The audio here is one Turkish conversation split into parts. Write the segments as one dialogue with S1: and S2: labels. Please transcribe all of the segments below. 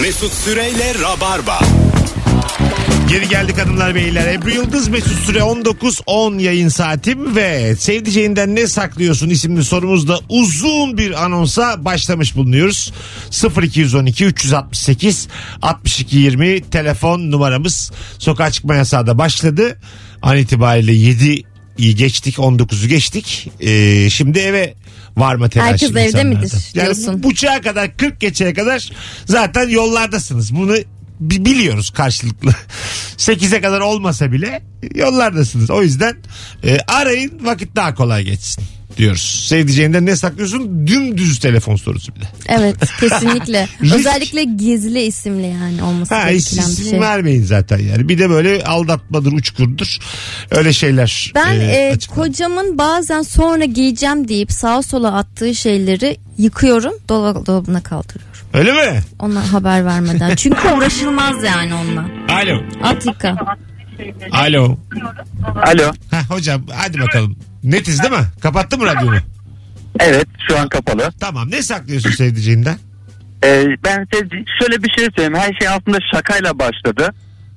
S1: Mesut Süreyle Rabarba.
S2: Geri geldik hanımlar beyler. Ebru Yıldız Mesut Süre 19.10 yayın saatim ve sevdiceğinden ne saklıyorsun isimli sorumuzda uzun bir anonsa başlamış bulunuyoruz. 0212 368 62 20 telefon numaramız. Sokağa çıkma yasağı da başladı. An itibariyle 7'yi geçtik 19'u geçtik. Ee, şimdi eve varma telaşı
S3: Herkes evde
S2: insanlarda.
S3: midir
S2: Yani
S3: diyorsun?
S2: bu buçuğa kadar 40 geçeye kadar zaten yollardasınız. Bunu bi- biliyoruz karşılıklı. 8'e kadar olmasa bile yollardasınız. O yüzden e, arayın vakit daha kolay geçsin diyoruz. Sevdiceğinden ne saklıyorsun? Dümdüz telefon sorusu bir de.
S3: Evet kesinlikle.
S2: Risk.
S3: Özellikle gizli isimli yani olması
S2: Ha hiç
S3: gereken bir
S2: isim
S3: şey.
S2: vermeyin zaten yani. Bir de böyle aldatmadır, uçkurdur. Öyle şeyler.
S3: Ben
S2: e,
S3: e,
S2: açık-
S3: kocamın bazen sonra giyeceğim deyip sağa sola attığı şeyleri yıkıyorum dolap- dolabına kaldırıyorum.
S2: Öyle mi?
S3: Ona haber vermeden. Çünkü uğraşılmaz yani onunla.
S2: Alo.
S3: At yıka.
S2: Alo.
S4: Alo.
S2: Ha hocam hadi bakalım. Netiz değil mi? Kapattın mı radyonu?
S4: Evet şu an kapalı.
S2: Tamam. Ne saklıyorsun sevdiceğinden?
S4: Ee, ben size şöyle bir şey söyleyeyim. Her şey aslında şakayla başladı.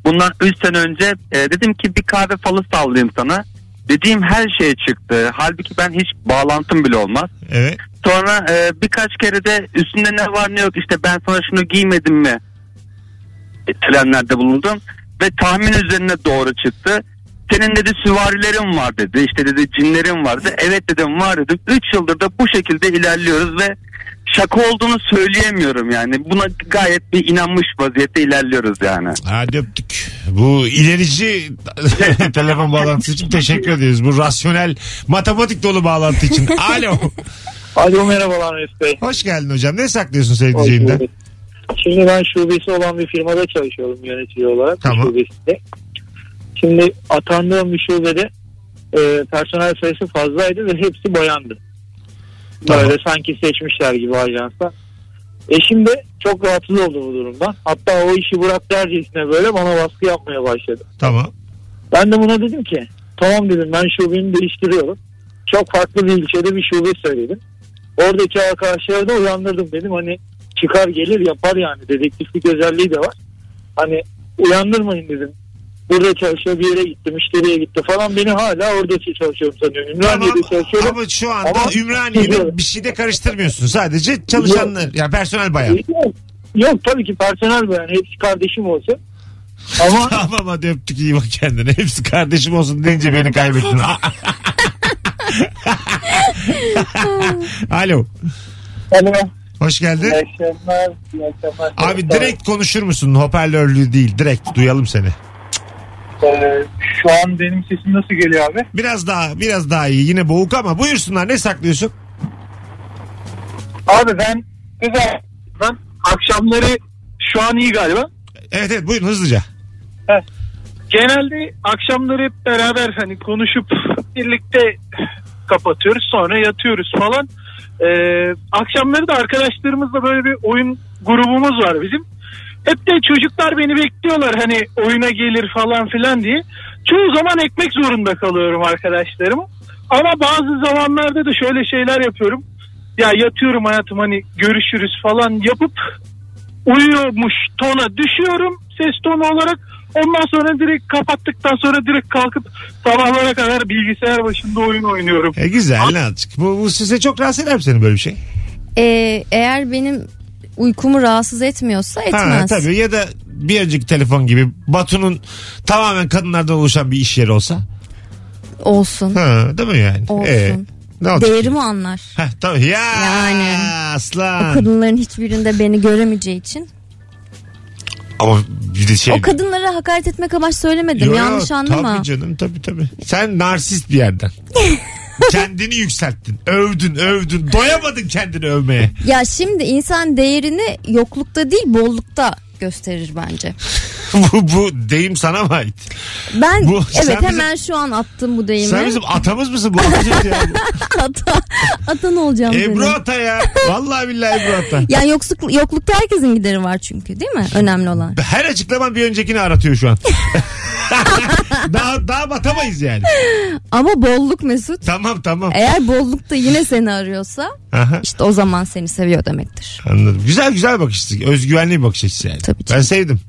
S4: Bundan 3 sene önce e, dedim ki bir kahve falı sallayayım sana. Dediğim her şey çıktı. Halbuki ben hiç bağlantım bile olmaz.
S2: Evet.
S4: Sonra e, birkaç kere de üstünde ne var ne yok işte ben sana şunu giymedim mi e, trenlerde bulundum. Ve tahmin üzerine doğru çıktı. Senin dedi süvarilerin var dedi. İşte dedi cinlerin vardı. Evet dedim var dedim. 3 yıldır da bu şekilde ilerliyoruz ve şaka olduğunu söyleyemiyorum yani. Buna gayet bir inanmış vaziyette ilerliyoruz yani.
S2: Hadi öptük. Bu ilerici telefon bağlantısı için teşekkür ediyoruz. Bu rasyonel matematik dolu bağlantı için. Alo.
S5: Alo merhabalar Mesut Bey.
S2: Hoş geldin hocam. Ne saklıyorsun
S5: Hoş
S2: sevdiceğinden?
S5: bulduk. Şimdi ben şubesi olan bir firmada çalışıyorum yönetici olarak.
S2: Tamam.
S5: Şubesinde. Şimdi atandığım bir şubede e, personel sayısı fazlaydı ve hepsi bayandı.
S2: Tamam.
S5: Böyle sanki seçmişler gibi ajansa. Eşim de çok rahatsız oldu bu durumdan. Hatta o işi bırak dercesine böyle bana baskı yapmaya başladı.
S2: Tamam.
S5: Ben de buna dedim ki tamam dedim ben şubemi değiştiriyorum. Çok farklı bir ilçede bir şube söyledim. Oradaki arkadaşları da uyandırdım dedim hani çıkar gelir yapar yani dedektiflik özelliği de var. Hani uyandırmayın dedim. Burada çalışıyor bir yere gitti müşteriye gitti falan beni hala oradaki çalışıyorum sanıyorum.
S2: Tamam.
S5: Ümraniye'de çalışıyorum.
S2: Ama şu anda
S5: Ama-
S2: Ümraniye'de bir şey de karıştırmıyorsun. Sadece çalışanlar, ya personel bayan.
S5: Yok, Yok tabii ki personel bayan hepsi kardeşim olsun. Ama
S2: Tamam hadi öptük iyi bak kendine. Hepsi kardeşim olsun deyince beni kaybettin. Alo.
S5: Alo.
S2: Hoş geldin.
S5: İyi akşamlar. iyi akşamlar.
S2: Abi direkt konuşur musun? Hoparlörlü değil. Direkt duyalım seni.
S6: Ee, şu an benim sesim nasıl geliyor abi?
S2: Biraz daha biraz daha iyi. Yine boğuk ama buyursunlar ne saklıyorsun?
S6: Abi ben güzel. Ben akşamları şu an iyi galiba.
S2: Evet evet buyurun hızlıca.
S6: Genelde akşamları hep beraber hani konuşup birlikte kapatıyoruz sonra yatıyoruz falan. Ee, akşamları da arkadaşlarımızla böyle bir oyun grubumuz var bizim. Hep de çocuklar beni bekliyorlar hani oyuna gelir falan filan diye. Çoğu zaman ekmek zorunda kalıyorum arkadaşlarımı. Ama bazı zamanlarda da şöyle şeyler yapıyorum. Ya yatıyorum hayatım hani görüşürüz falan yapıp uyuyormuş tona düşüyorum ses tonu olarak. Ondan sonra direkt kapattıktan sonra direkt kalkıp sabahlara kadar bilgisayar başında oyun oynuyorum.
S2: E, güzel ne azıcık. Bu, bu size çok rahatsız eder mi senin böyle bir şey?
S3: E, eğer benim uykumu rahatsız etmiyorsa
S2: Ha,
S3: etmez.
S2: tabii ya da bir önceki telefon gibi Batu'nun tamamen kadınlardan oluşan bir iş yeri olsa.
S3: Olsun.
S2: Ha, değil mi yani? E,
S3: Olsun.
S2: ne olacak?
S3: Değerimi anlar.
S2: Heh, tabii. Ya,
S3: Yani. O
S2: aslan.
S3: kadınların hiçbirinde beni göremeyeceği için.
S2: Ama bir de şey.
S3: O kadınlara hakaret etmek amaç söylemedim.
S2: Yo, yo,
S3: Yanlış anlama.
S2: Tabii canım tabii tabii. Sen narsist bir yerden. kendini yükselttin. Övdün övdün. Doyamadın kendini övmeye.
S3: Ya şimdi insan değerini yoklukta değil bollukta gösterir bence.
S2: bu, bu deyim sana mı ait?
S3: Ben
S2: Bu- sen
S3: evet
S2: bizim-
S3: hemen şu an attım bu deyimi.
S2: Sen bizim atamız mısın? Bu atacağız ya.
S3: ata, atan olacağım
S2: Ebru
S3: dedim.
S2: ata ya. Vallahi billahi Ebru ata.
S3: Yani yoksuk, yoklukta herkesin gideri var çünkü değil mi? Önemli olan.
S2: Her açıklaman bir öncekini aratıyor şu an. daha, daha batamayız yani.
S3: Ama bolluk Mesut.
S2: Tamam tamam.
S3: Eğer bolluk da yine seni arıyorsa
S2: Aha,
S3: işte o zaman seni seviyor demektir.
S2: anladım. Güzel güzel bakış açısı. Özgüvenli bir bakış açısı yani.
S3: Tabii
S2: ben
S3: canım.
S2: sevdim.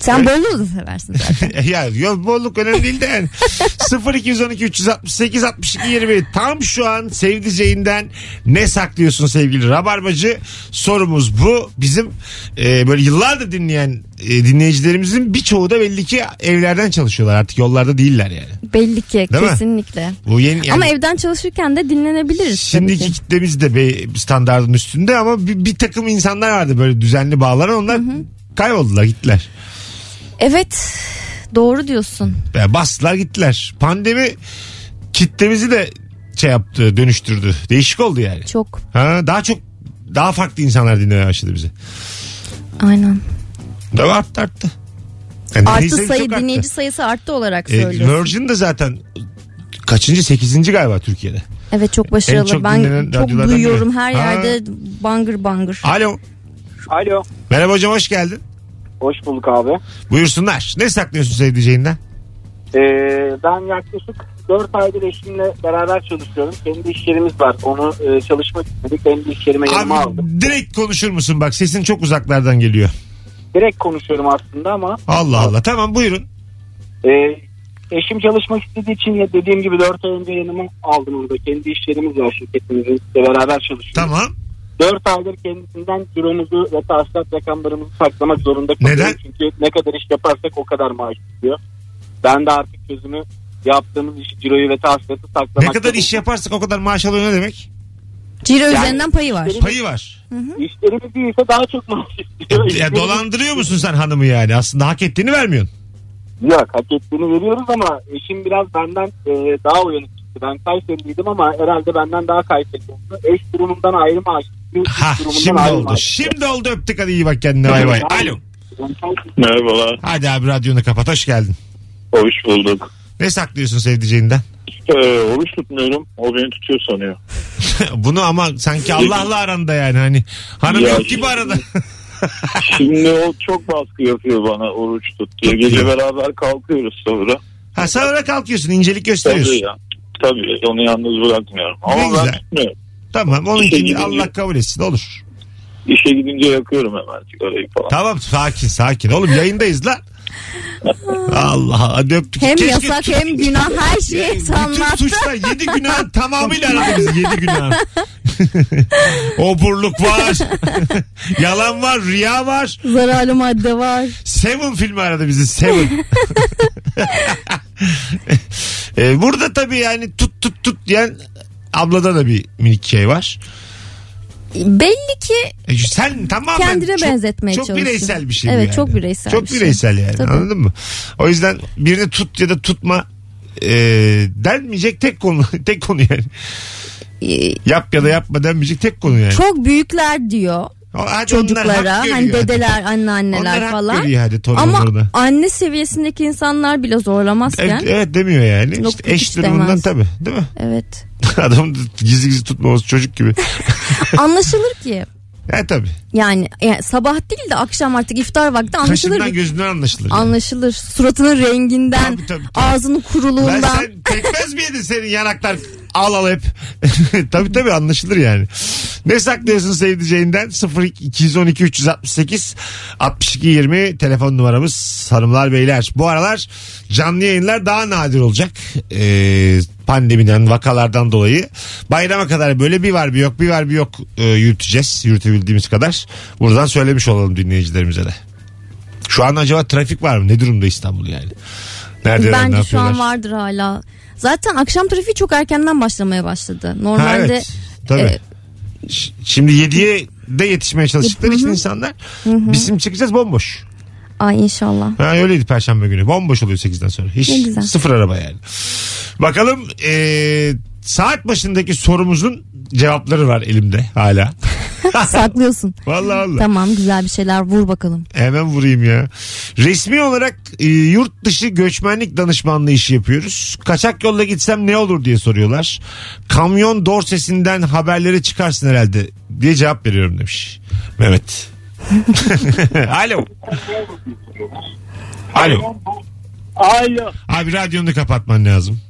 S3: Sen bolluğu da seversin zaten.
S2: ya yok bolluk önemli değil de yani. 0212 368 62 20 tam şu an sevdiceğinden ne saklıyorsun sevgili Rabarbacı sorumuz bu bizim e, böyle yıllardır dinleyen e, dinleyicilerimizin birçoğu da belli ki evlerden çalışıyorlar artık yollarda değiller yani
S3: Belli ki
S2: Değil mi?
S3: kesinlikle.
S2: bu yeni yani
S3: Ama evden çalışırken de dinlenebiliriz
S2: Şimdiki
S3: tabii ki.
S2: kitlemiz de be- standartın üstünde ama bir, bir takım insanlar vardı böyle düzenli bağlanan onlar kayboldular gittiler.
S3: Evet doğru diyorsun.
S2: Yani bastılar gittiler. Pandemi kitlemizi de şey yaptı dönüştürdü. Değişik oldu yani.
S3: Çok
S2: Ha, daha çok daha farklı insanlar dinlemeye başladı bizi.
S3: aynen.
S2: Tabii arttı arttı. Yani
S3: Artı
S2: dinleyici
S3: sayı
S2: çok arttı.
S3: dinleyici sayısı arttı olarak
S2: E,
S3: söylüyorsun.
S2: Virgin de zaten kaçıncı? Sekizinci galiba Türkiye'de.
S3: evet çok
S2: en
S3: başarılı.
S2: çok dinlenen
S3: ben çok
S2: radyolardan
S3: duyuyorum
S2: biri.
S3: her
S2: Ha.
S3: yerde bangır bangır.
S2: Alo.
S7: Alo.
S2: Merhaba hocam hoş geldin.
S7: Hoş bulduk abi.
S2: Buyursunlar. Ne saklıyorsun sevdiceğinden?
S7: Ee, ben yaklaşık 4 aydır eşimle beraber çalışıyorum. Kendi iş yerimiz var. Onu e, çalışmak istedik. Kendi iş yerime yanıma
S2: Abi
S7: aldım.
S2: direkt konuşur musun bak sesin çok uzaklardan geliyor.
S7: Direkt konuşuyorum aslında ama
S2: Allah Allah tamam buyurun.
S7: e, eşim çalışmak istediği için ya dediğim gibi 4 ay önce yanıma aldım onu da. Kendi iş yerimiz var şirketimizin. İşte beraber çalışıyoruz.
S2: Tamam.
S7: 4 aydır kendisinden ciromuzu ve tahsilat rakamlarımızı saklamak zorunda kalıyorum.
S2: Neden?
S7: Çünkü ne kadar iş yaparsak o kadar maaş istiyor. Ben de artık çözümü yaptığımız işi ciroyu ve tahsilatı saklamak.
S2: Ne kadar iş yaparsak o kadar maaş alıyor ne demek?
S3: Ciro üzerinden payı var.
S2: Payı var.
S7: İşlerimiz değilse daha çok maaş istiyor.
S2: E, ya
S7: İşlerimiz-
S2: dolandırıyor musun sen hanımı yani? Aslında hak ettiğini vermiyorsun.
S7: Yok hak ettiğini veriyoruz ama eşim biraz benden e, daha uyanık çıktı. Ben Kayseriliydim ama herhalde benden daha Kayseri oldu. Eş durumundan ayrı maaş istiyor. iş
S2: Ha
S7: durumundan
S2: şimdi
S7: ayrı
S2: oldu.
S7: maaş
S2: Şimdi oldu öptük hadi iyi bak kendine bay bay. Alo.
S7: istiyor. Ben Kayseri-
S8: Merhabalar.
S2: Hadi abi radyonu kapat hoş geldin.
S8: Hoş bulduk.
S2: Ne saklıyorsun sevdiceğinden?
S8: Ee, oruç tutmuyorum. O beni tutuyor sanıyor.
S2: Bunu ama sanki Allah'la aranda yani hani. Hanım
S8: Ya
S2: yok
S8: işte-
S2: gibi arada.
S8: Şimdi o çok baskı yapıyor bana oruç tut diye. Gece beraber kalkıyoruz sonra.
S2: ha sen öyle kalkıyorsun incelik gösteriyorsun.
S8: Tabii ya. Tabii onu yalnız bırakmıyorum. Ama
S2: Ne
S8: ben
S2: güzel.
S8: tutmuyorum.
S2: Tamam onunkini
S8: İşe
S2: Allah
S8: gidince-
S2: kabul etsin olur.
S8: İşe gidince yakıyorum hemen sigarayı falan.
S2: Tamam sakin sakin oğlum yayındayız lan. Allah hadi öptük.
S3: Hem
S2: Keşke
S3: yasak
S2: tut-
S3: hem günah her şeyi
S2: Bütün
S3: sanmaz.
S2: suçlar yedi günahın tamamıyla aradı bizi yedi günahın. Oburluk var. Yalan var. Riya var.
S3: Zararlı madde var.
S2: Seven filmi aradı bizi. Seven. Ee, burada tabii yani tut tut tut diyen ablada da bir minik şey var.
S3: Belli ki
S2: E, sen tamamen
S3: kendine
S2: çok,
S3: benzetmeye
S2: çok
S3: çalışıyorsun.
S2: bireysel bir şey bu
S3: Evet
S2: yani.
S3: çok bireysel
S2: Çok
S3: bir şey.
S2: bireysel yani
S3: Tabii.
S2: anladın mı? O yüzden birini tut ya da tutma e, denmeyecek tek konu tek konu yani.
S3: Ee,
S2: Yap ya da yapma denmeyecek tek konu yani.
S3: Çok büyükler diyor
S2: O- hadi onlar
S3: çocuklara
S2: hak görüyor
S3: hani
S2: hadi.
S3: dedeler
S2: Onlar
S3: anneanneler
S2: hak
S3: falan.
S2: görüyor hadi
S3: Ama
S2: torunlarına.
S3: anne seviyesindeki insanlar bile zorlamazken
S2: Evet, evet demiyor yani.
S3: Yok,
S2: işte eş
S3: hiç
S2: durumundan
S3: demez.
S2: tabii değil mi?
S3: evet.
S2: Adam gizli gizli tutmaması çocuk gibi.
S3: Anlaşılır ki.
S2: E tabii.
S3: Yani, yani sabah değil de akşam artık iftar vakti anlaşılır.
S2: Kaşından
S3: bir-
S2: gözünden anlaşılır. yani.
S3: Anlaşılır. Suratının renginden,
S2: Tabii, tabii, tabii.
S3: ağzının
S2: Lan
S3: kuruluğundan.
S2: sen pekmez miydin senin yanaklar al al hep. tabii tabii anlaşılır yani. Ne saklıyorsun sevdiceğinden? 0212 368 62 20 telefon numaramız hanımlar beyler. Bu aralar canlı yayınlar daha nadir olacak. Ee, pandemiden vakalardan dolayı. Bayrama kadar böyle bir var bir yok bir var bir yok e, yürüteceğiz. Yürütebildiğimiz kadar. Buradan söylemiş olalım dinleyicilerimize de. Şu an acaba trafik var mı? Ne durumda İstanbul yani? Nerede ne
S3: Bence şu
S2: yapıyorlar?
S3: an vardır hala. Zaten akşam trafiği çok erkenden başlamaya başladı.
S2: Ha,
S3: Normalde
S2: evet. Tabii.
S3: e,
S2: Ş- Şimdi 7'ye de yetişmeye çalıştıkları için insanlar bizim çıkacağız bomboş.
S3: ay inşallah.
S2: Ha, öyleydi perşembe günü. Bomboş oluyor 8'den sonra. Hiç
S3: Ne güzel.
S2: sıfır araba yani. Bakalım e, saat başındaki sorumuzun cevapları var elimde hala.
S3: Saklıyorsun.
S2: Vallahi vallahi.
S3: Tamam güzel bir şeyler vur bakalım.
S2: Hemen vurayım ya. Resmi olarak e, yurt dışı göçmenlik danışmanlığı işi yapıyoruz. Kaçak yolla gitsem ne olur diye soruyorlar. Kamyon dorsesinden haberlere çıkarsın herhalde diye cevap veriyorum demiş. Mehmet. Alo. Alo.
S9: Alo.
S2: Abi radyonu kapatman lazım.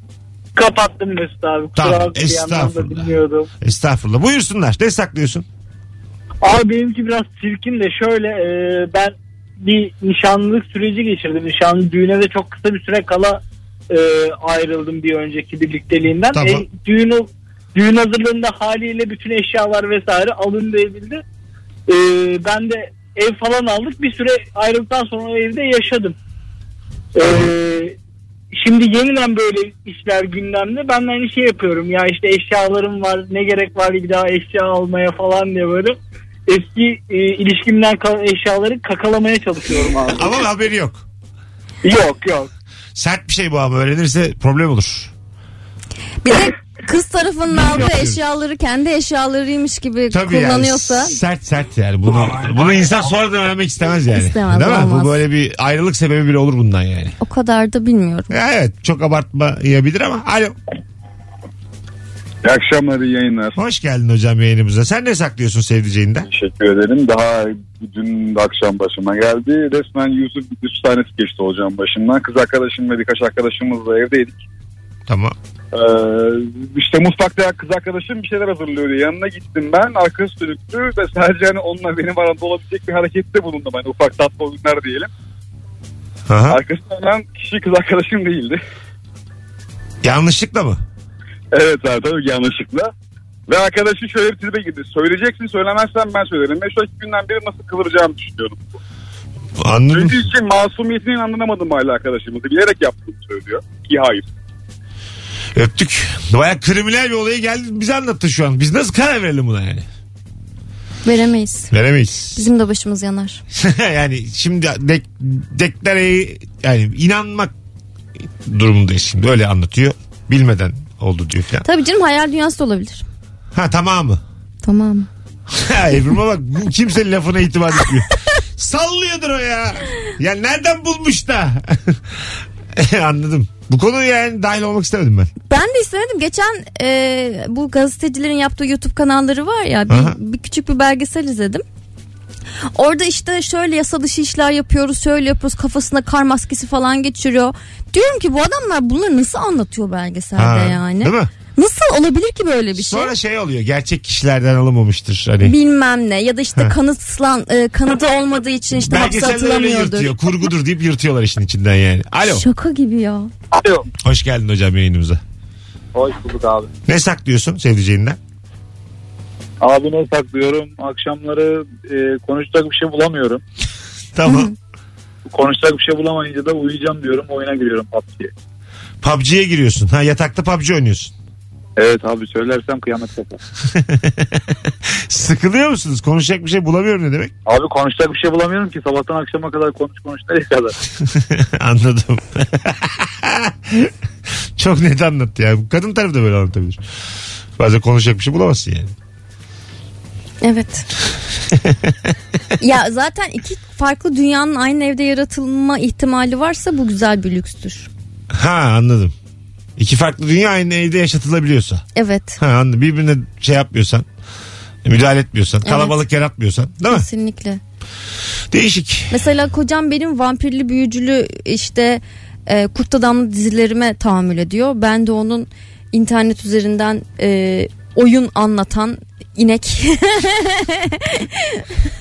S9: Kapattım Mesut abi. Kusura
S2: Tamam,
S9: bakma, bir yandan da
S2: estağfurullah.
S9: dinliyordum.
S2: Estağfurullah. Buyursunlar. Ne saklıyorsun?
S9: Abi benimki biraz çirkin de şöyle e, ben bir nişanlılık süreci geçirdim. Nişanlı düğüne de çok kısa bir süre kala e, ayrıldım bir önceki birlikteliğimden.
S2: Tamam.
S9: E, düğün, düğün hazırlığında haliyle bütün eşyalar vesaire alındı edildi. E, ben de ev falan aldık. Bir süre ayrıldıktan sonra o evde yaşadım. E, şimdi yeniden böyle işler gündemde. Ben de aynı şey yapıyorum. Ya işte eşyalarım var. Ne gerek var bir daha eşya almaya falan diye böyle. Eski e, ilişkimden kalan eşyaları kakalamaya çalışıyorum abi.
S2: Ama haberi yok.
S9: yok yok.
S2: Sert bir şey bu ama öğrenirse problem olur.
S3: Bir de kız tarafının aldığı eşyaları kendi eşyalarıymış gibi
S2: Tabii
S3: kullanıyorsa.
S2: yani sert sert yani. Bunu, bunu insan sonradan öğrenmek istemez yani.
S3: İstemez,
S2: Değil mi?
S3: olmaz.
S2: Bu böyle bir ayrılık sebebi bile olur bundan yani.
S3: O kadar da bilmiyorum.
S2: Ya Evet çok abartmayabilir ama. Alo.
S1: İyi akşamlar iyi yayınlar.
S2: Hoş geldin hocam yayınımıza. Sen ne saklıyorsun sevdiceğinden?
S1: Teşekkür ederim. Daha dün akşam başıma geldi. Resmen Yusuf bir tanesi geçti hocam başımdan. Kız arkadaşım ve birkaç arkadaşımızla evdeydik.
S2: Tamam.
S1: Ee, işte mutfakta kız arkadaşım bir şeyler hazırlıyordu. Yanına gittim ben. Arkası sürüktü ve sadece hani onunla benim aramda olabilecek bir harekette bulundum. Hani ufak tatlı oyunlar diyelim.
S2: Aha.
S1: Arkasından olan kişi kız arkadaşım değildi.
S2: Yanlışlıkla mı?
S1: Evet abi tabii ki yanlışlıkla. Ve arkadaşı şöyle bir tribe girdi. Söyleyeceksin söylemezsen ben söylerim. Ve şu iki günden beri nasıl kıvıracağımı düşünüyorum.
S2: Anladım.
S1: Çünkü için masumiyetini anlamadım hala arkadaşımızı. Bilerek yaptığını söylüyor. Ki hayır.
S2: Öptük. Baya kriminal bir olaya geldi. Bize anlattı şu an. Biz nasıl karar verelim buna yani?
S3: Veremeyiz.
S2: Veremeyiz.
S3: Bizim de başımız yanar.
S2: yani şimdi dek, deklarayı yani inanmak durumundayız şimdi. Öyle anlatıyor. Bilmeden oldu diyor falan.
S3: Tabii canım hayal dünyası da olabilir.
S2: Ha tamamı.
S3: Tamam.
S2: Ha, Ebru'ma bak bu kimsenin lafına itibar etmiyor. Sallıyordur o ya. Ya nereden bulmuş da? Anladım. Bu konuya yani dahil olmak istemedim ben.
S3: Ben de istemedim. Geçen e, bu gazetecilerin yaptığı YouTube kanalları var ya
S2: Aha.
S3: bir, bir küçük bir belgesel izledim. Orada işte şöyle yasa dışı işler yapıyoruz, şöyle yapıyoruz. Kafasına kar maskesi falan geçiriyor. Diyorum ki bu adamlar bunları nasıl anlatıyor belgeselde
S2: Ha,
S3: yani?
S2: Değil mi?
S3: Nasıl olabilir ki böyle bir şey?
S2: Sonra şey oluyor. Gerçek kişilerden alınmamıştır. Hani
S3: Bilmem ne ya da işte
S2: Ha.
S3: kanıtlan e, kanıtı olmadığı için işte hapse
S2: belgeseller öyle
S3: atılamıyordur.
S2: yırtıyor. Kurgudur deyip yırtıyorlar işin içinden yani. Alo.
S3: Şaka gibi ya.
S10: Alo.
S2: Hoş geldin hocam yayınımıza.
S10: Hoş bulduk abi.
S2: Ne saklıyorsun sevdiceğinden?
S10: Abi ne saklıyorum? Akşamları konuşacak bir şey bulamıyorum.
S2: Tamam.
S10: Konuşacak bir şey bulamayınca da uyuyacağım diyorum. Oyuna giriyorum PUBG'ye.
S2: PUBG'ye giriyorsun. Ha yatakta PUBG oynuyorsun.
S10: Evet abi söylersem kıyamet kopar.
S2: Sıkılıyor musunuz? Konuşacak bir şey bulamıyorum ne demek?
S10: Abi konuşacak bir şey bulamıyorum ki. Sabahtan akşama kadar konuş konuş nereye kadar.
S2: Anladım. Çok net anlattı ya. Kadın tarafı da böyle anlatabilir. Bazen konuşacak bir şey bulamazsın yani.
S3: Evet. ya zaten iki farklı dünyanın aynı evde yaratılma ihtimali varsa bu güzel bir lükstür.
S2: Ha anladım. İki farklı dünya aynı evde yaşatılabiliyorsa.
S3: Evet.
S2: Ha anladım. Birbirine şey yapmıyorsan, müdahale etmiyorsan, kalabalık yaratmıyorsan. Değil mi?
S3: Kesinlikle.
S2: Değişik.
S3: Mesela kocam benim vampirli büyücülü işte e, kurt adamlı dizilerime tahammül ediyor. Ben de onun internet üzerinden e, oyun anlatan inek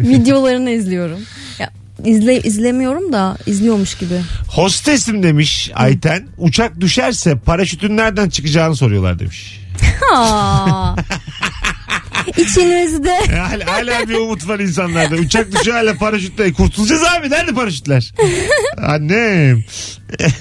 S3: videolarını izliyorum. Ya, izle, izlemiyorum da izliyormuş gibi.
S2: Hostesim demiş Ayten. Uçak düşerse paraşütün nereden çıkacağını soruyorlar demiş.
S3: Aa. İçinizde.
S2: E, Hala, hala bir umut var insanlarda. Uçak düşüyor hala paraşütle. E, Kurtulacağız abi. Nerede paraşütler? Annem.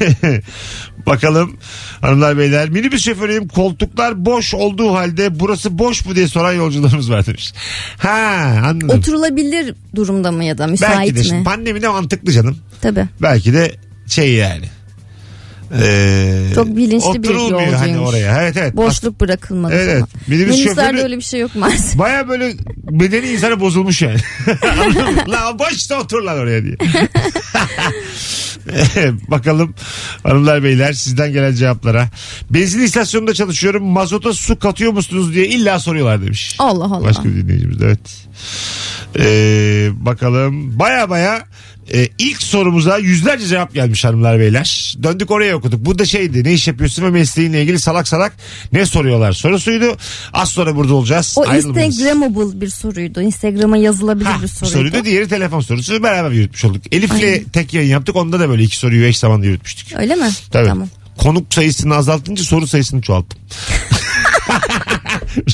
S2: Bakalım hanımlar beyler. Minibüs şoförüyüm. Koltuklar boş olduğu halde burası boş mu diye soran yolcularımız var demiş. Ha anladım.
S3: Oturulabilir durumda mı ya da
S2: Belki
S3: müsait
S2: de şimdi
S3: mi?
S2: pandemi de mantıklı canım.
S3: Tabii.
S2: Belki de şey yani. Ee,
S3: Çok bilinçli bir
S2: oturulmuyor
S3: yolcuymuş.
S2: hani oraya. Evet evet.
S3: Boşluk bırakılmadı
S2: Evet.
S3: sana.
S2: Minibüs
S3: Minibüslerde
S2: şoförü-
S3: öyle bir şey yok maalesef.
S2: Baya böyle bedeni insana bozulmuş yani. Anladın mı? La boşta otur lan oraya diye. Bakalım hanımlar beyler sizden gelen cevaplara. Benzin istasyonunda çalışıyorum mazota su katıyor musunuz diye illa soruyorlar demiş.
S3: Allah Allah.
S2: Başka bir dinleyicimiz de, evet. Ee, bakalım baya baya e, ilk sorumuza yüzlerce cevap gelmiş hanımlar beyler. Döndük oraya okuduk. Bu da şeydi ne iş yapıyorsun ve mesleğinle ilgili salak salak ne soruyorlar sorusuydu. Az sonra burada olacağız.
S3: O
S2: Ayrılmayınız.
S3: Instagramable bir soruydu. Instagram'a yazılabilir
S2: Ha,
S3: bir
S2: bu
S3: soruydu.
S2: soruydu. Diğeri telefon sorusu. Beraber yürütmüş olduk. Elif'le
S3: Aynen.
S2: tek yayın yaptık. Onda da böyle iki soruyu eş zamanda yürütmüştük.
S3: Öyle mi?
S2: Tabii.
S3: Tamam.
S2: Konuk sayısını azaltınca soru sayısını çoğalttım.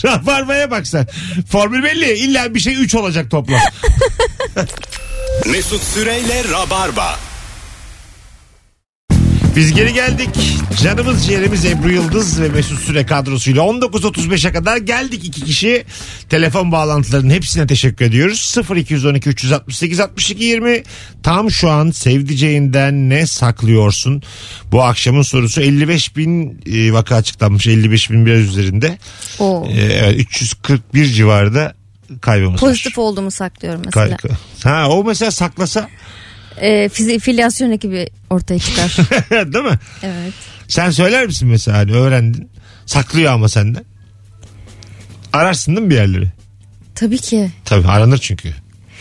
S2: Rabarbaya bak sen. Formül belli. İlla bir şey 3 olacak toplam.
S1: Mesut Süreyle Rabarba.
S2: Biz geri geldik. Canımız ciğerimiz Ebru Yıldız ve Mesut Süre kadrosuyla 19.35'e kadar geldik iki kişi. Telefon bağlantılarının hepsine teşekkür ediyoruz. 0212 368 62 20 tam şu an sevdiceğinden ne saklıyorsun? Bu akşamın sorusu 55 bin e, vaka açıklanmış 55 bin biraz üzerinde.
S3: Oo.
S2: E, evet, 341 civarında kaybımız var.
S3: Pozitif olduğumu saklıyorum mesela.
S2: Kay- Ha o mesela saklasa
S3: Ee, fizi- filyasyon ekibi ortaya çıkar.
S2: değil mi?
S3: evet.
S2: Sen söyler misin mesela hani öğrendin. Saklıyor ama senden. Ararsın değil mi bir yerleri?
S3: Tabii ki
S2: Tabii aranır çünkü.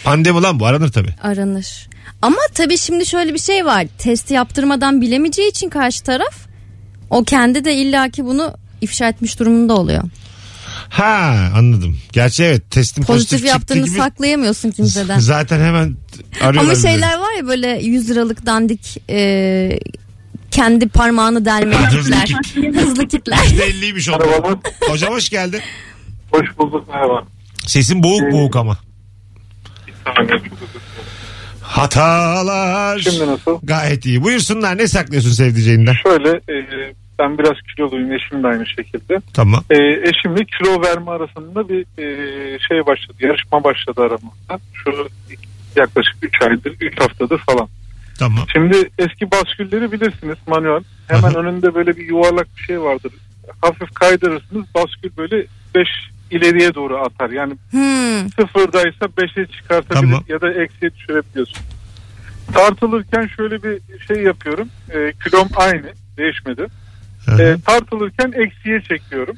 S2: Pandemi lan bu aranır tabii.
S3: aranır. Ama tabii şimdi şöyle bir şey var. Testi yaptırmadan bilemeyeceği için karşı taraf o kendi de illaki bunu ifşa etmiş durumunda oluyor.
S2: Ha anladım. Gerçi evet testin
S3: Pozitif,
S2: pozitif, çıktı
S3: yaptığını
S2: gibi
S3: saklayamıyorsun kimseden.
S2: zaten hemen arıyorlar.
S3: Ama
S2: bizi.
S3: şeyler var ya böyle 100 liralık dandik e, kendi parmağını delmeli
S2: Hızlı
S3: kitler. Hızlı kitler.
S2: Belliymiş oldu.
S8: Merhabalar.
S2: Hocam hoş geldin.
S8: Hoş bulduk merhaba.
S2: Sesin
S8: Ee,
S2: boğuk boğuk ama. Hatalar.
S8: Şimdi nasıl?
S2: Gayet iyi. Buyursunlar ne saklıyorsun sevdiceğinden?
S8: Şöyle e, ben biraz kiloluyum eşim de aynı şekilde.
S2: Tamam.
S8: E, eşimle kilo verme arasında bir e, şey başladı. Yarışma başladı aramızda. Şu yaklaşık 3 aydır 3 haftadır falan.
S2: Tamam.
S8: Şimdi eski baskülleri bilirsiniz manuel. Hemen önünde böyle bir yuvarlak bir şey vardır. Hafif kaydırırsınız baskül böyle 5 ileriye doğru atar. Yani
S3: Hmm.
S8: sıfırdaysa 5'e çıkartabilir
S2: Tamam.
S8: ya da eksiye düşürebiliyorsun. Tartılırken şöyle bir şey yapıyorum. E, kilom aynı değişmedi.
S2: Ee,
S8: E, tartılırken eksiye çekiyorum.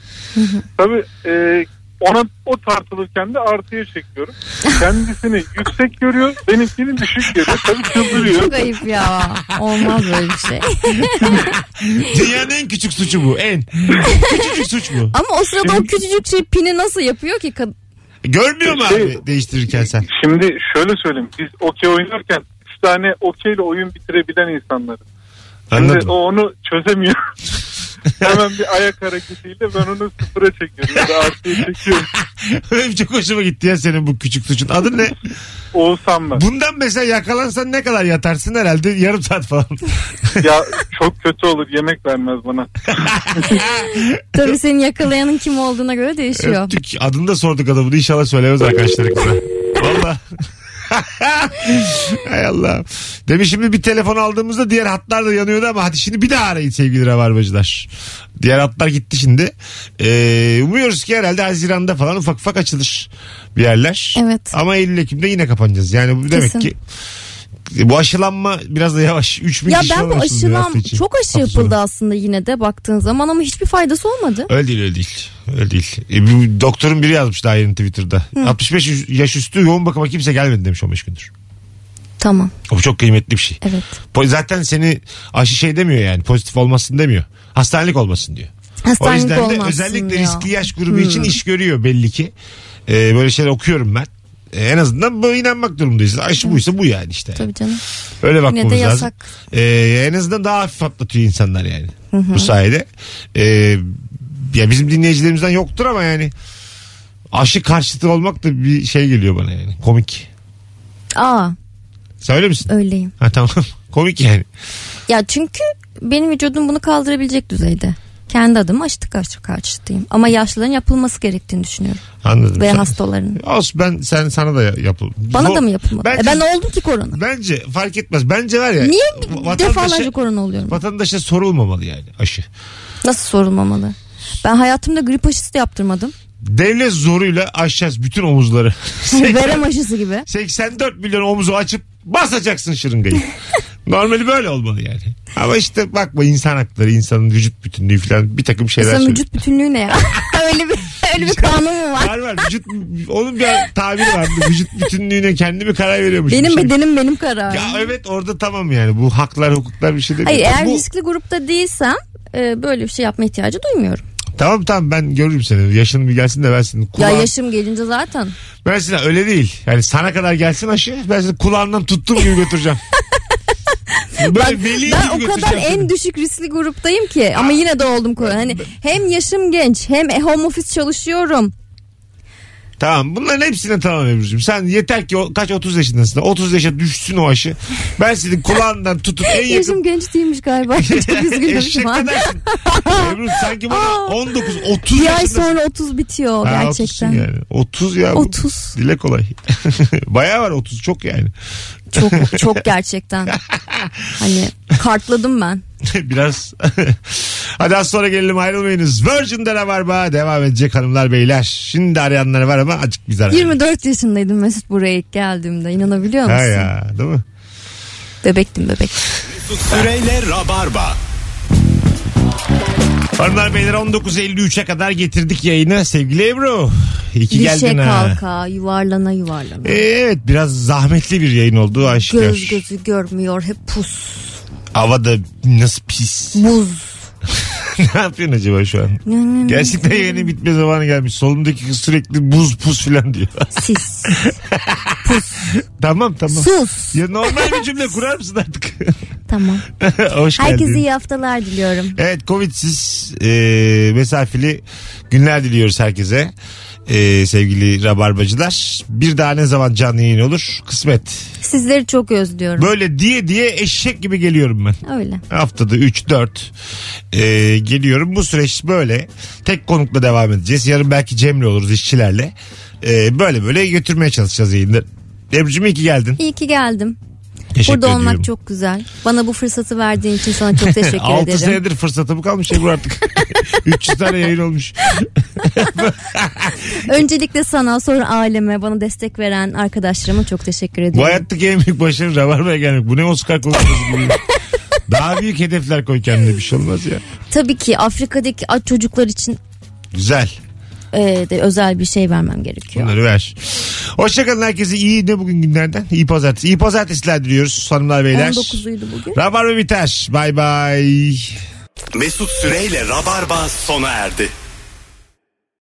S8: Tabii e, ona o tartılırken de artıya çekiyorum. Kendisini yüksek görüyor, benimkini düşük görüyor. Tabii çıldırıyor.
S3: Çok ayıp ya. Olmaz böyle bir şey.
S2: Dünyanın en küçük suçu bu. En. Küçücük suç bu.
S3: Ama o sırada o küçücük şey pini nasıl yapıyor ki? kad-
S2: Görmüyor mu
S8: Şey-
S2: abi değiştirirken sen?
S8: Şimdi şöyle söyleyeyim. Biz okey oynarken 3 tane okeyle oyun bitirebilen insanlarız. Şimdi
S2: Anladım.
S8: o onu çözemiyor. Hemen bir ayak hareketiyle ben onu sıfıra çekiyorum. Ya da artıya çekiyorum.
S2: Benim çok hoşuma gitti ya senin bu küçük suçun. Adı ne?
S8: Oğuzhan ben.
S2: Bundan mesela yakalansan ne kadar yatarsın herhalde yarım saat falan.
S8: Ya çok kötü olur. Yemek vermez bana.
S3: Tabii senin yakalayanın kim olduğuna göre değişiyor.
S2: Öptük. Adını da sorduk adamını. İnşallah söylemez arkadaşlarımıza. Valla. Hay Allah. Demiş şimdi bir telefon aldığımızda diğer hatlar da yanıyordu ama hadi şimdi bir daha arayın sevgili rabarbacılar. Diğer hatlar gitti şimdi. Ee, umuyoruz ki herhalde Haziran'da falan ufak ufak açılır bir yerler.
S3: Evet.
S2: Ama Eylül Ekim'de yine kapanacağız. Yani bu demek
S3: Kesin.
S2: ki bu aşılanma biraz da yavaş. 3 bin
S3: Ya
S2: kişi
S3: ben bu
S2: falan aşılanıyor hafta
S3: aşılan
S2: içi.
S3: çok aşı
S2: Hafta sonu.
S3: yapıldı aslında yine de baktığın zaman ama hiçbir faydası olmadı.
S2: Öyle değil öyle değil. Öyle değil. E, bir doktorun biri yazmış daha yeni Twitter'da. 65 yaş- yaş üstü yoğun bakıma kimse gelmedi demiş 15 gündür.
S3: Tamam
S2: O çok kıymetli bir şey.
S3: evet.
S2: Po- Zaten seni aşı şey demiyor yani pozitif olmasın demiyor. Hastanelik olmasın diyor. o
S3: Hastanelik
S2: yüzden de
S3: olmazsın
S2: özellikle
S3: ya.
S2: riskli yaş grubu için iş görüyor belli ki. E, böyle şeyler okuyorum ben. E, en azından bu inanmak durumundayız. Aşı buysa bu yani işte.
S3: Tabii canım.
S2: Öyle bakmamız
S3: Yine de
S2: lazım.
S3: yasak.
S2: Ee, en azından daha hafif atlatıyor insanlar yani. Bu sayede. Ee, ya bizim dinleyicilerimizden yoktur ama yani aşı karşıtı olmak da bir şey geliyor bana yani. Komik.
S3: Aa
S2: Sen öyle misin?
S3: öyleyim.
S2: Ha tamam. Komik yani.
S3: Ya çünkü benim vücudum bunu kaldırabilecek düzeyde. Kendi adıma aşıtı karşı karşıtıyım. Ama yaşlıların yapılması gerektiğini düşünüyorum.
S2: Anladım.
S3: Ve
S2: Sen-
S3: hastaların.
S2: Olsun ben sen sana da yapıl.
S3: Bana da mı yapılmadı?
S2: Bence,
S3: E ben oldum ki korona.
S2: bence fark etmez. Bence var ya.
S3: Niye
S2: vatandaşa-
S3: defalarca korona oluyorum?
S2: Vatandaşa sorulmamalı yani aşı.
S3: Nasıl sorulmamalı? Ben hayatımda grip aşısı da yaptırmadım.
S2: Devlet zoruyla aşacağız bütün omuzları. Şey-
S3: Verem aşısı gibi.
S2: 84 milyon omuzu açıp basacaksın şırıngayı. Normali böyle olmalı yani. Ama işte bakma insan hakları, insanın vücut bütünlüğü falan bir takım şeyler
S3: Sen
S2: söylüyor.
S3: vücut bütünlüğü ne ya? öyle bir Öyle bir kanun mu var?
S2: Var var. Vücut, onun bir tabiri vardı. Vücut bütünlüğüne kendi bir karar veriyormuş.
S3: Benim
S2: Bir şey.
S3: bedenim benim kararım.
S2: Ya evet orada tamam yani. Bu haklar hukuklar bir şey demiyor.
S3: Hayır eğer
S2: Bu-
S3: riskli grupta değilsem e, böyle bir şey yapma ihtiyacı duymuyorum.
S2: Tamam tamam ben görürüm seni. Yaşın bir gelsin de ben senin kulağın...
S3: Ya yaşım gelince zaten.
S2: Ben seni öyle değil. Yani sana kadar gelsin aşı. Ben seni kulağından tuttum gibi götüreceğim. Böyle veli
S3: Ben
S2: gibi
S3: o kadar
S2: götüreceğim seni.
S3: en düşük riskli gruptayım ki ama yine de oldum ko- hani hem yaşım genç hem e, home office çalışıyorum.
S2: Tamam bunların hepsine tamam Ebru'cum. Sen yeter ki o, kaç 30 yaşındasın. 30 yaşa düşsün o aşı. Ben senin kulağından tutup en yakın...
S3: Yaşım genç değilmiş galiba. Çok üzgünüm
S2: Eşek
S3: şu an.
S2: kadarsın. Ebru sanki bana
S3: Aa.
S2: 19 30
S3: Bir ay
S2: yaşındasın.
S3: sonra 30 bitiyor
S2: Ha, otuzsun
S3: gerçekten.
S2: Yani. 30 ya.
S3: 30
S2: Dile kolay. Bayağı var 30 çok yani.
S3: çok çok gerçekten. hani kartladım ben.
S2: Biraz. Hadi az sonra gelelim ayrılmayınız. Virgin'de ne var ba? Devam edecek hanımlar beyler. Şimdi arayanlar var ama acık biz arayalım.
S3: 24 yaşındaydım Mesut buraya ilk geldiğimde inanabiliyor
S2: Ha
S3: musun?
S2: ya değil mi?
S3: Bebektim bebek.
S1: Mesut Süreyle Rabarba.
S2: Hanımlar beyler 19.53'e kadar getirdik yayını sevgili Ebru. İyi ki
S3: Düşe
S2: geldin ha.
S3: kalka yuvarlana yuvarlana.
S2: Ee, Evet biraz zahmetli bir yayın oldu aşikar.
S3: Göz gözü görmüyor hep pus
S2: Hava da nasıl pis.
S3: buz.
S2: ne yapıyorsun acaba şu an?
S3: Hmm.
S2: Gerçekten yayının bitme zamanı gelmiş. Solundaki kız sürekli buz pus filan diyor.
S3: Sis.
S2: tamam tamam.
S3: Sus.
S2: Ya normal bir cümle kurar mısın artık?
S3: Tamam.
S2: Hoş geldin.
S3: Herkese iyi haftalar diliyorum.
S2: Evet Covid'siz e, mesafeli günler diliyoruz herkese. E, sevgili rabarbacılar. Bir daha ne zaman canlı yayın olur? Kısmet.
S3: Sizleri çok özlüyorum.
S2: Böyle diye diye eşek gibi geliyorum ben.
S3: Öyle.
S2: Haftada 3-4 e, geliyorum. Bu süreç böyle. Tek konukla devam edeceğiz. Yarın belki Cem'le oluruz işçilerle. E, böyle böyle götürmeye çalışacağız yayında. Ebru'cum iyi ki geldin.
S3: İyi ki geldim.
S2: Teşekkür
S3: Burada
S2: ediyorum.
S3: olmak çok güzel. Bana bu fırsatı verdiğin için sana çok teşekkür ederim.
S2: 6 senedir fırsatım kalmış Ebru artık. 300 tane yayın olmuş.
S3: Öncelikle sana sonra aileme bana destek veren arkadaşlarıma çok teşekkür
S2: Bu
S3: ediyorum.
S2: hayattaki en büyük başarı Rabarba'ya gelmek. Bu ne Oscar konuşması gibi. Daha büyük hedefler koy kendine bir şey olmaz ya.
S3: Tabii ki Afrika'daki aç çocuklar için
S2: Güzel.
S3: e, de özel bir şey vermem gerekiyor.
S2: Bunları ver. Hoşçakalın herkese. İyi de bugün günlerden. İyi pazartesi. İyi pazartesiler diliyoruz hanımlar beyler.
S3: 19'uydu bugün.
S2: Rabarba biter. Bay bay.
S1: Mesut Süreyle Rabarba sona erdi.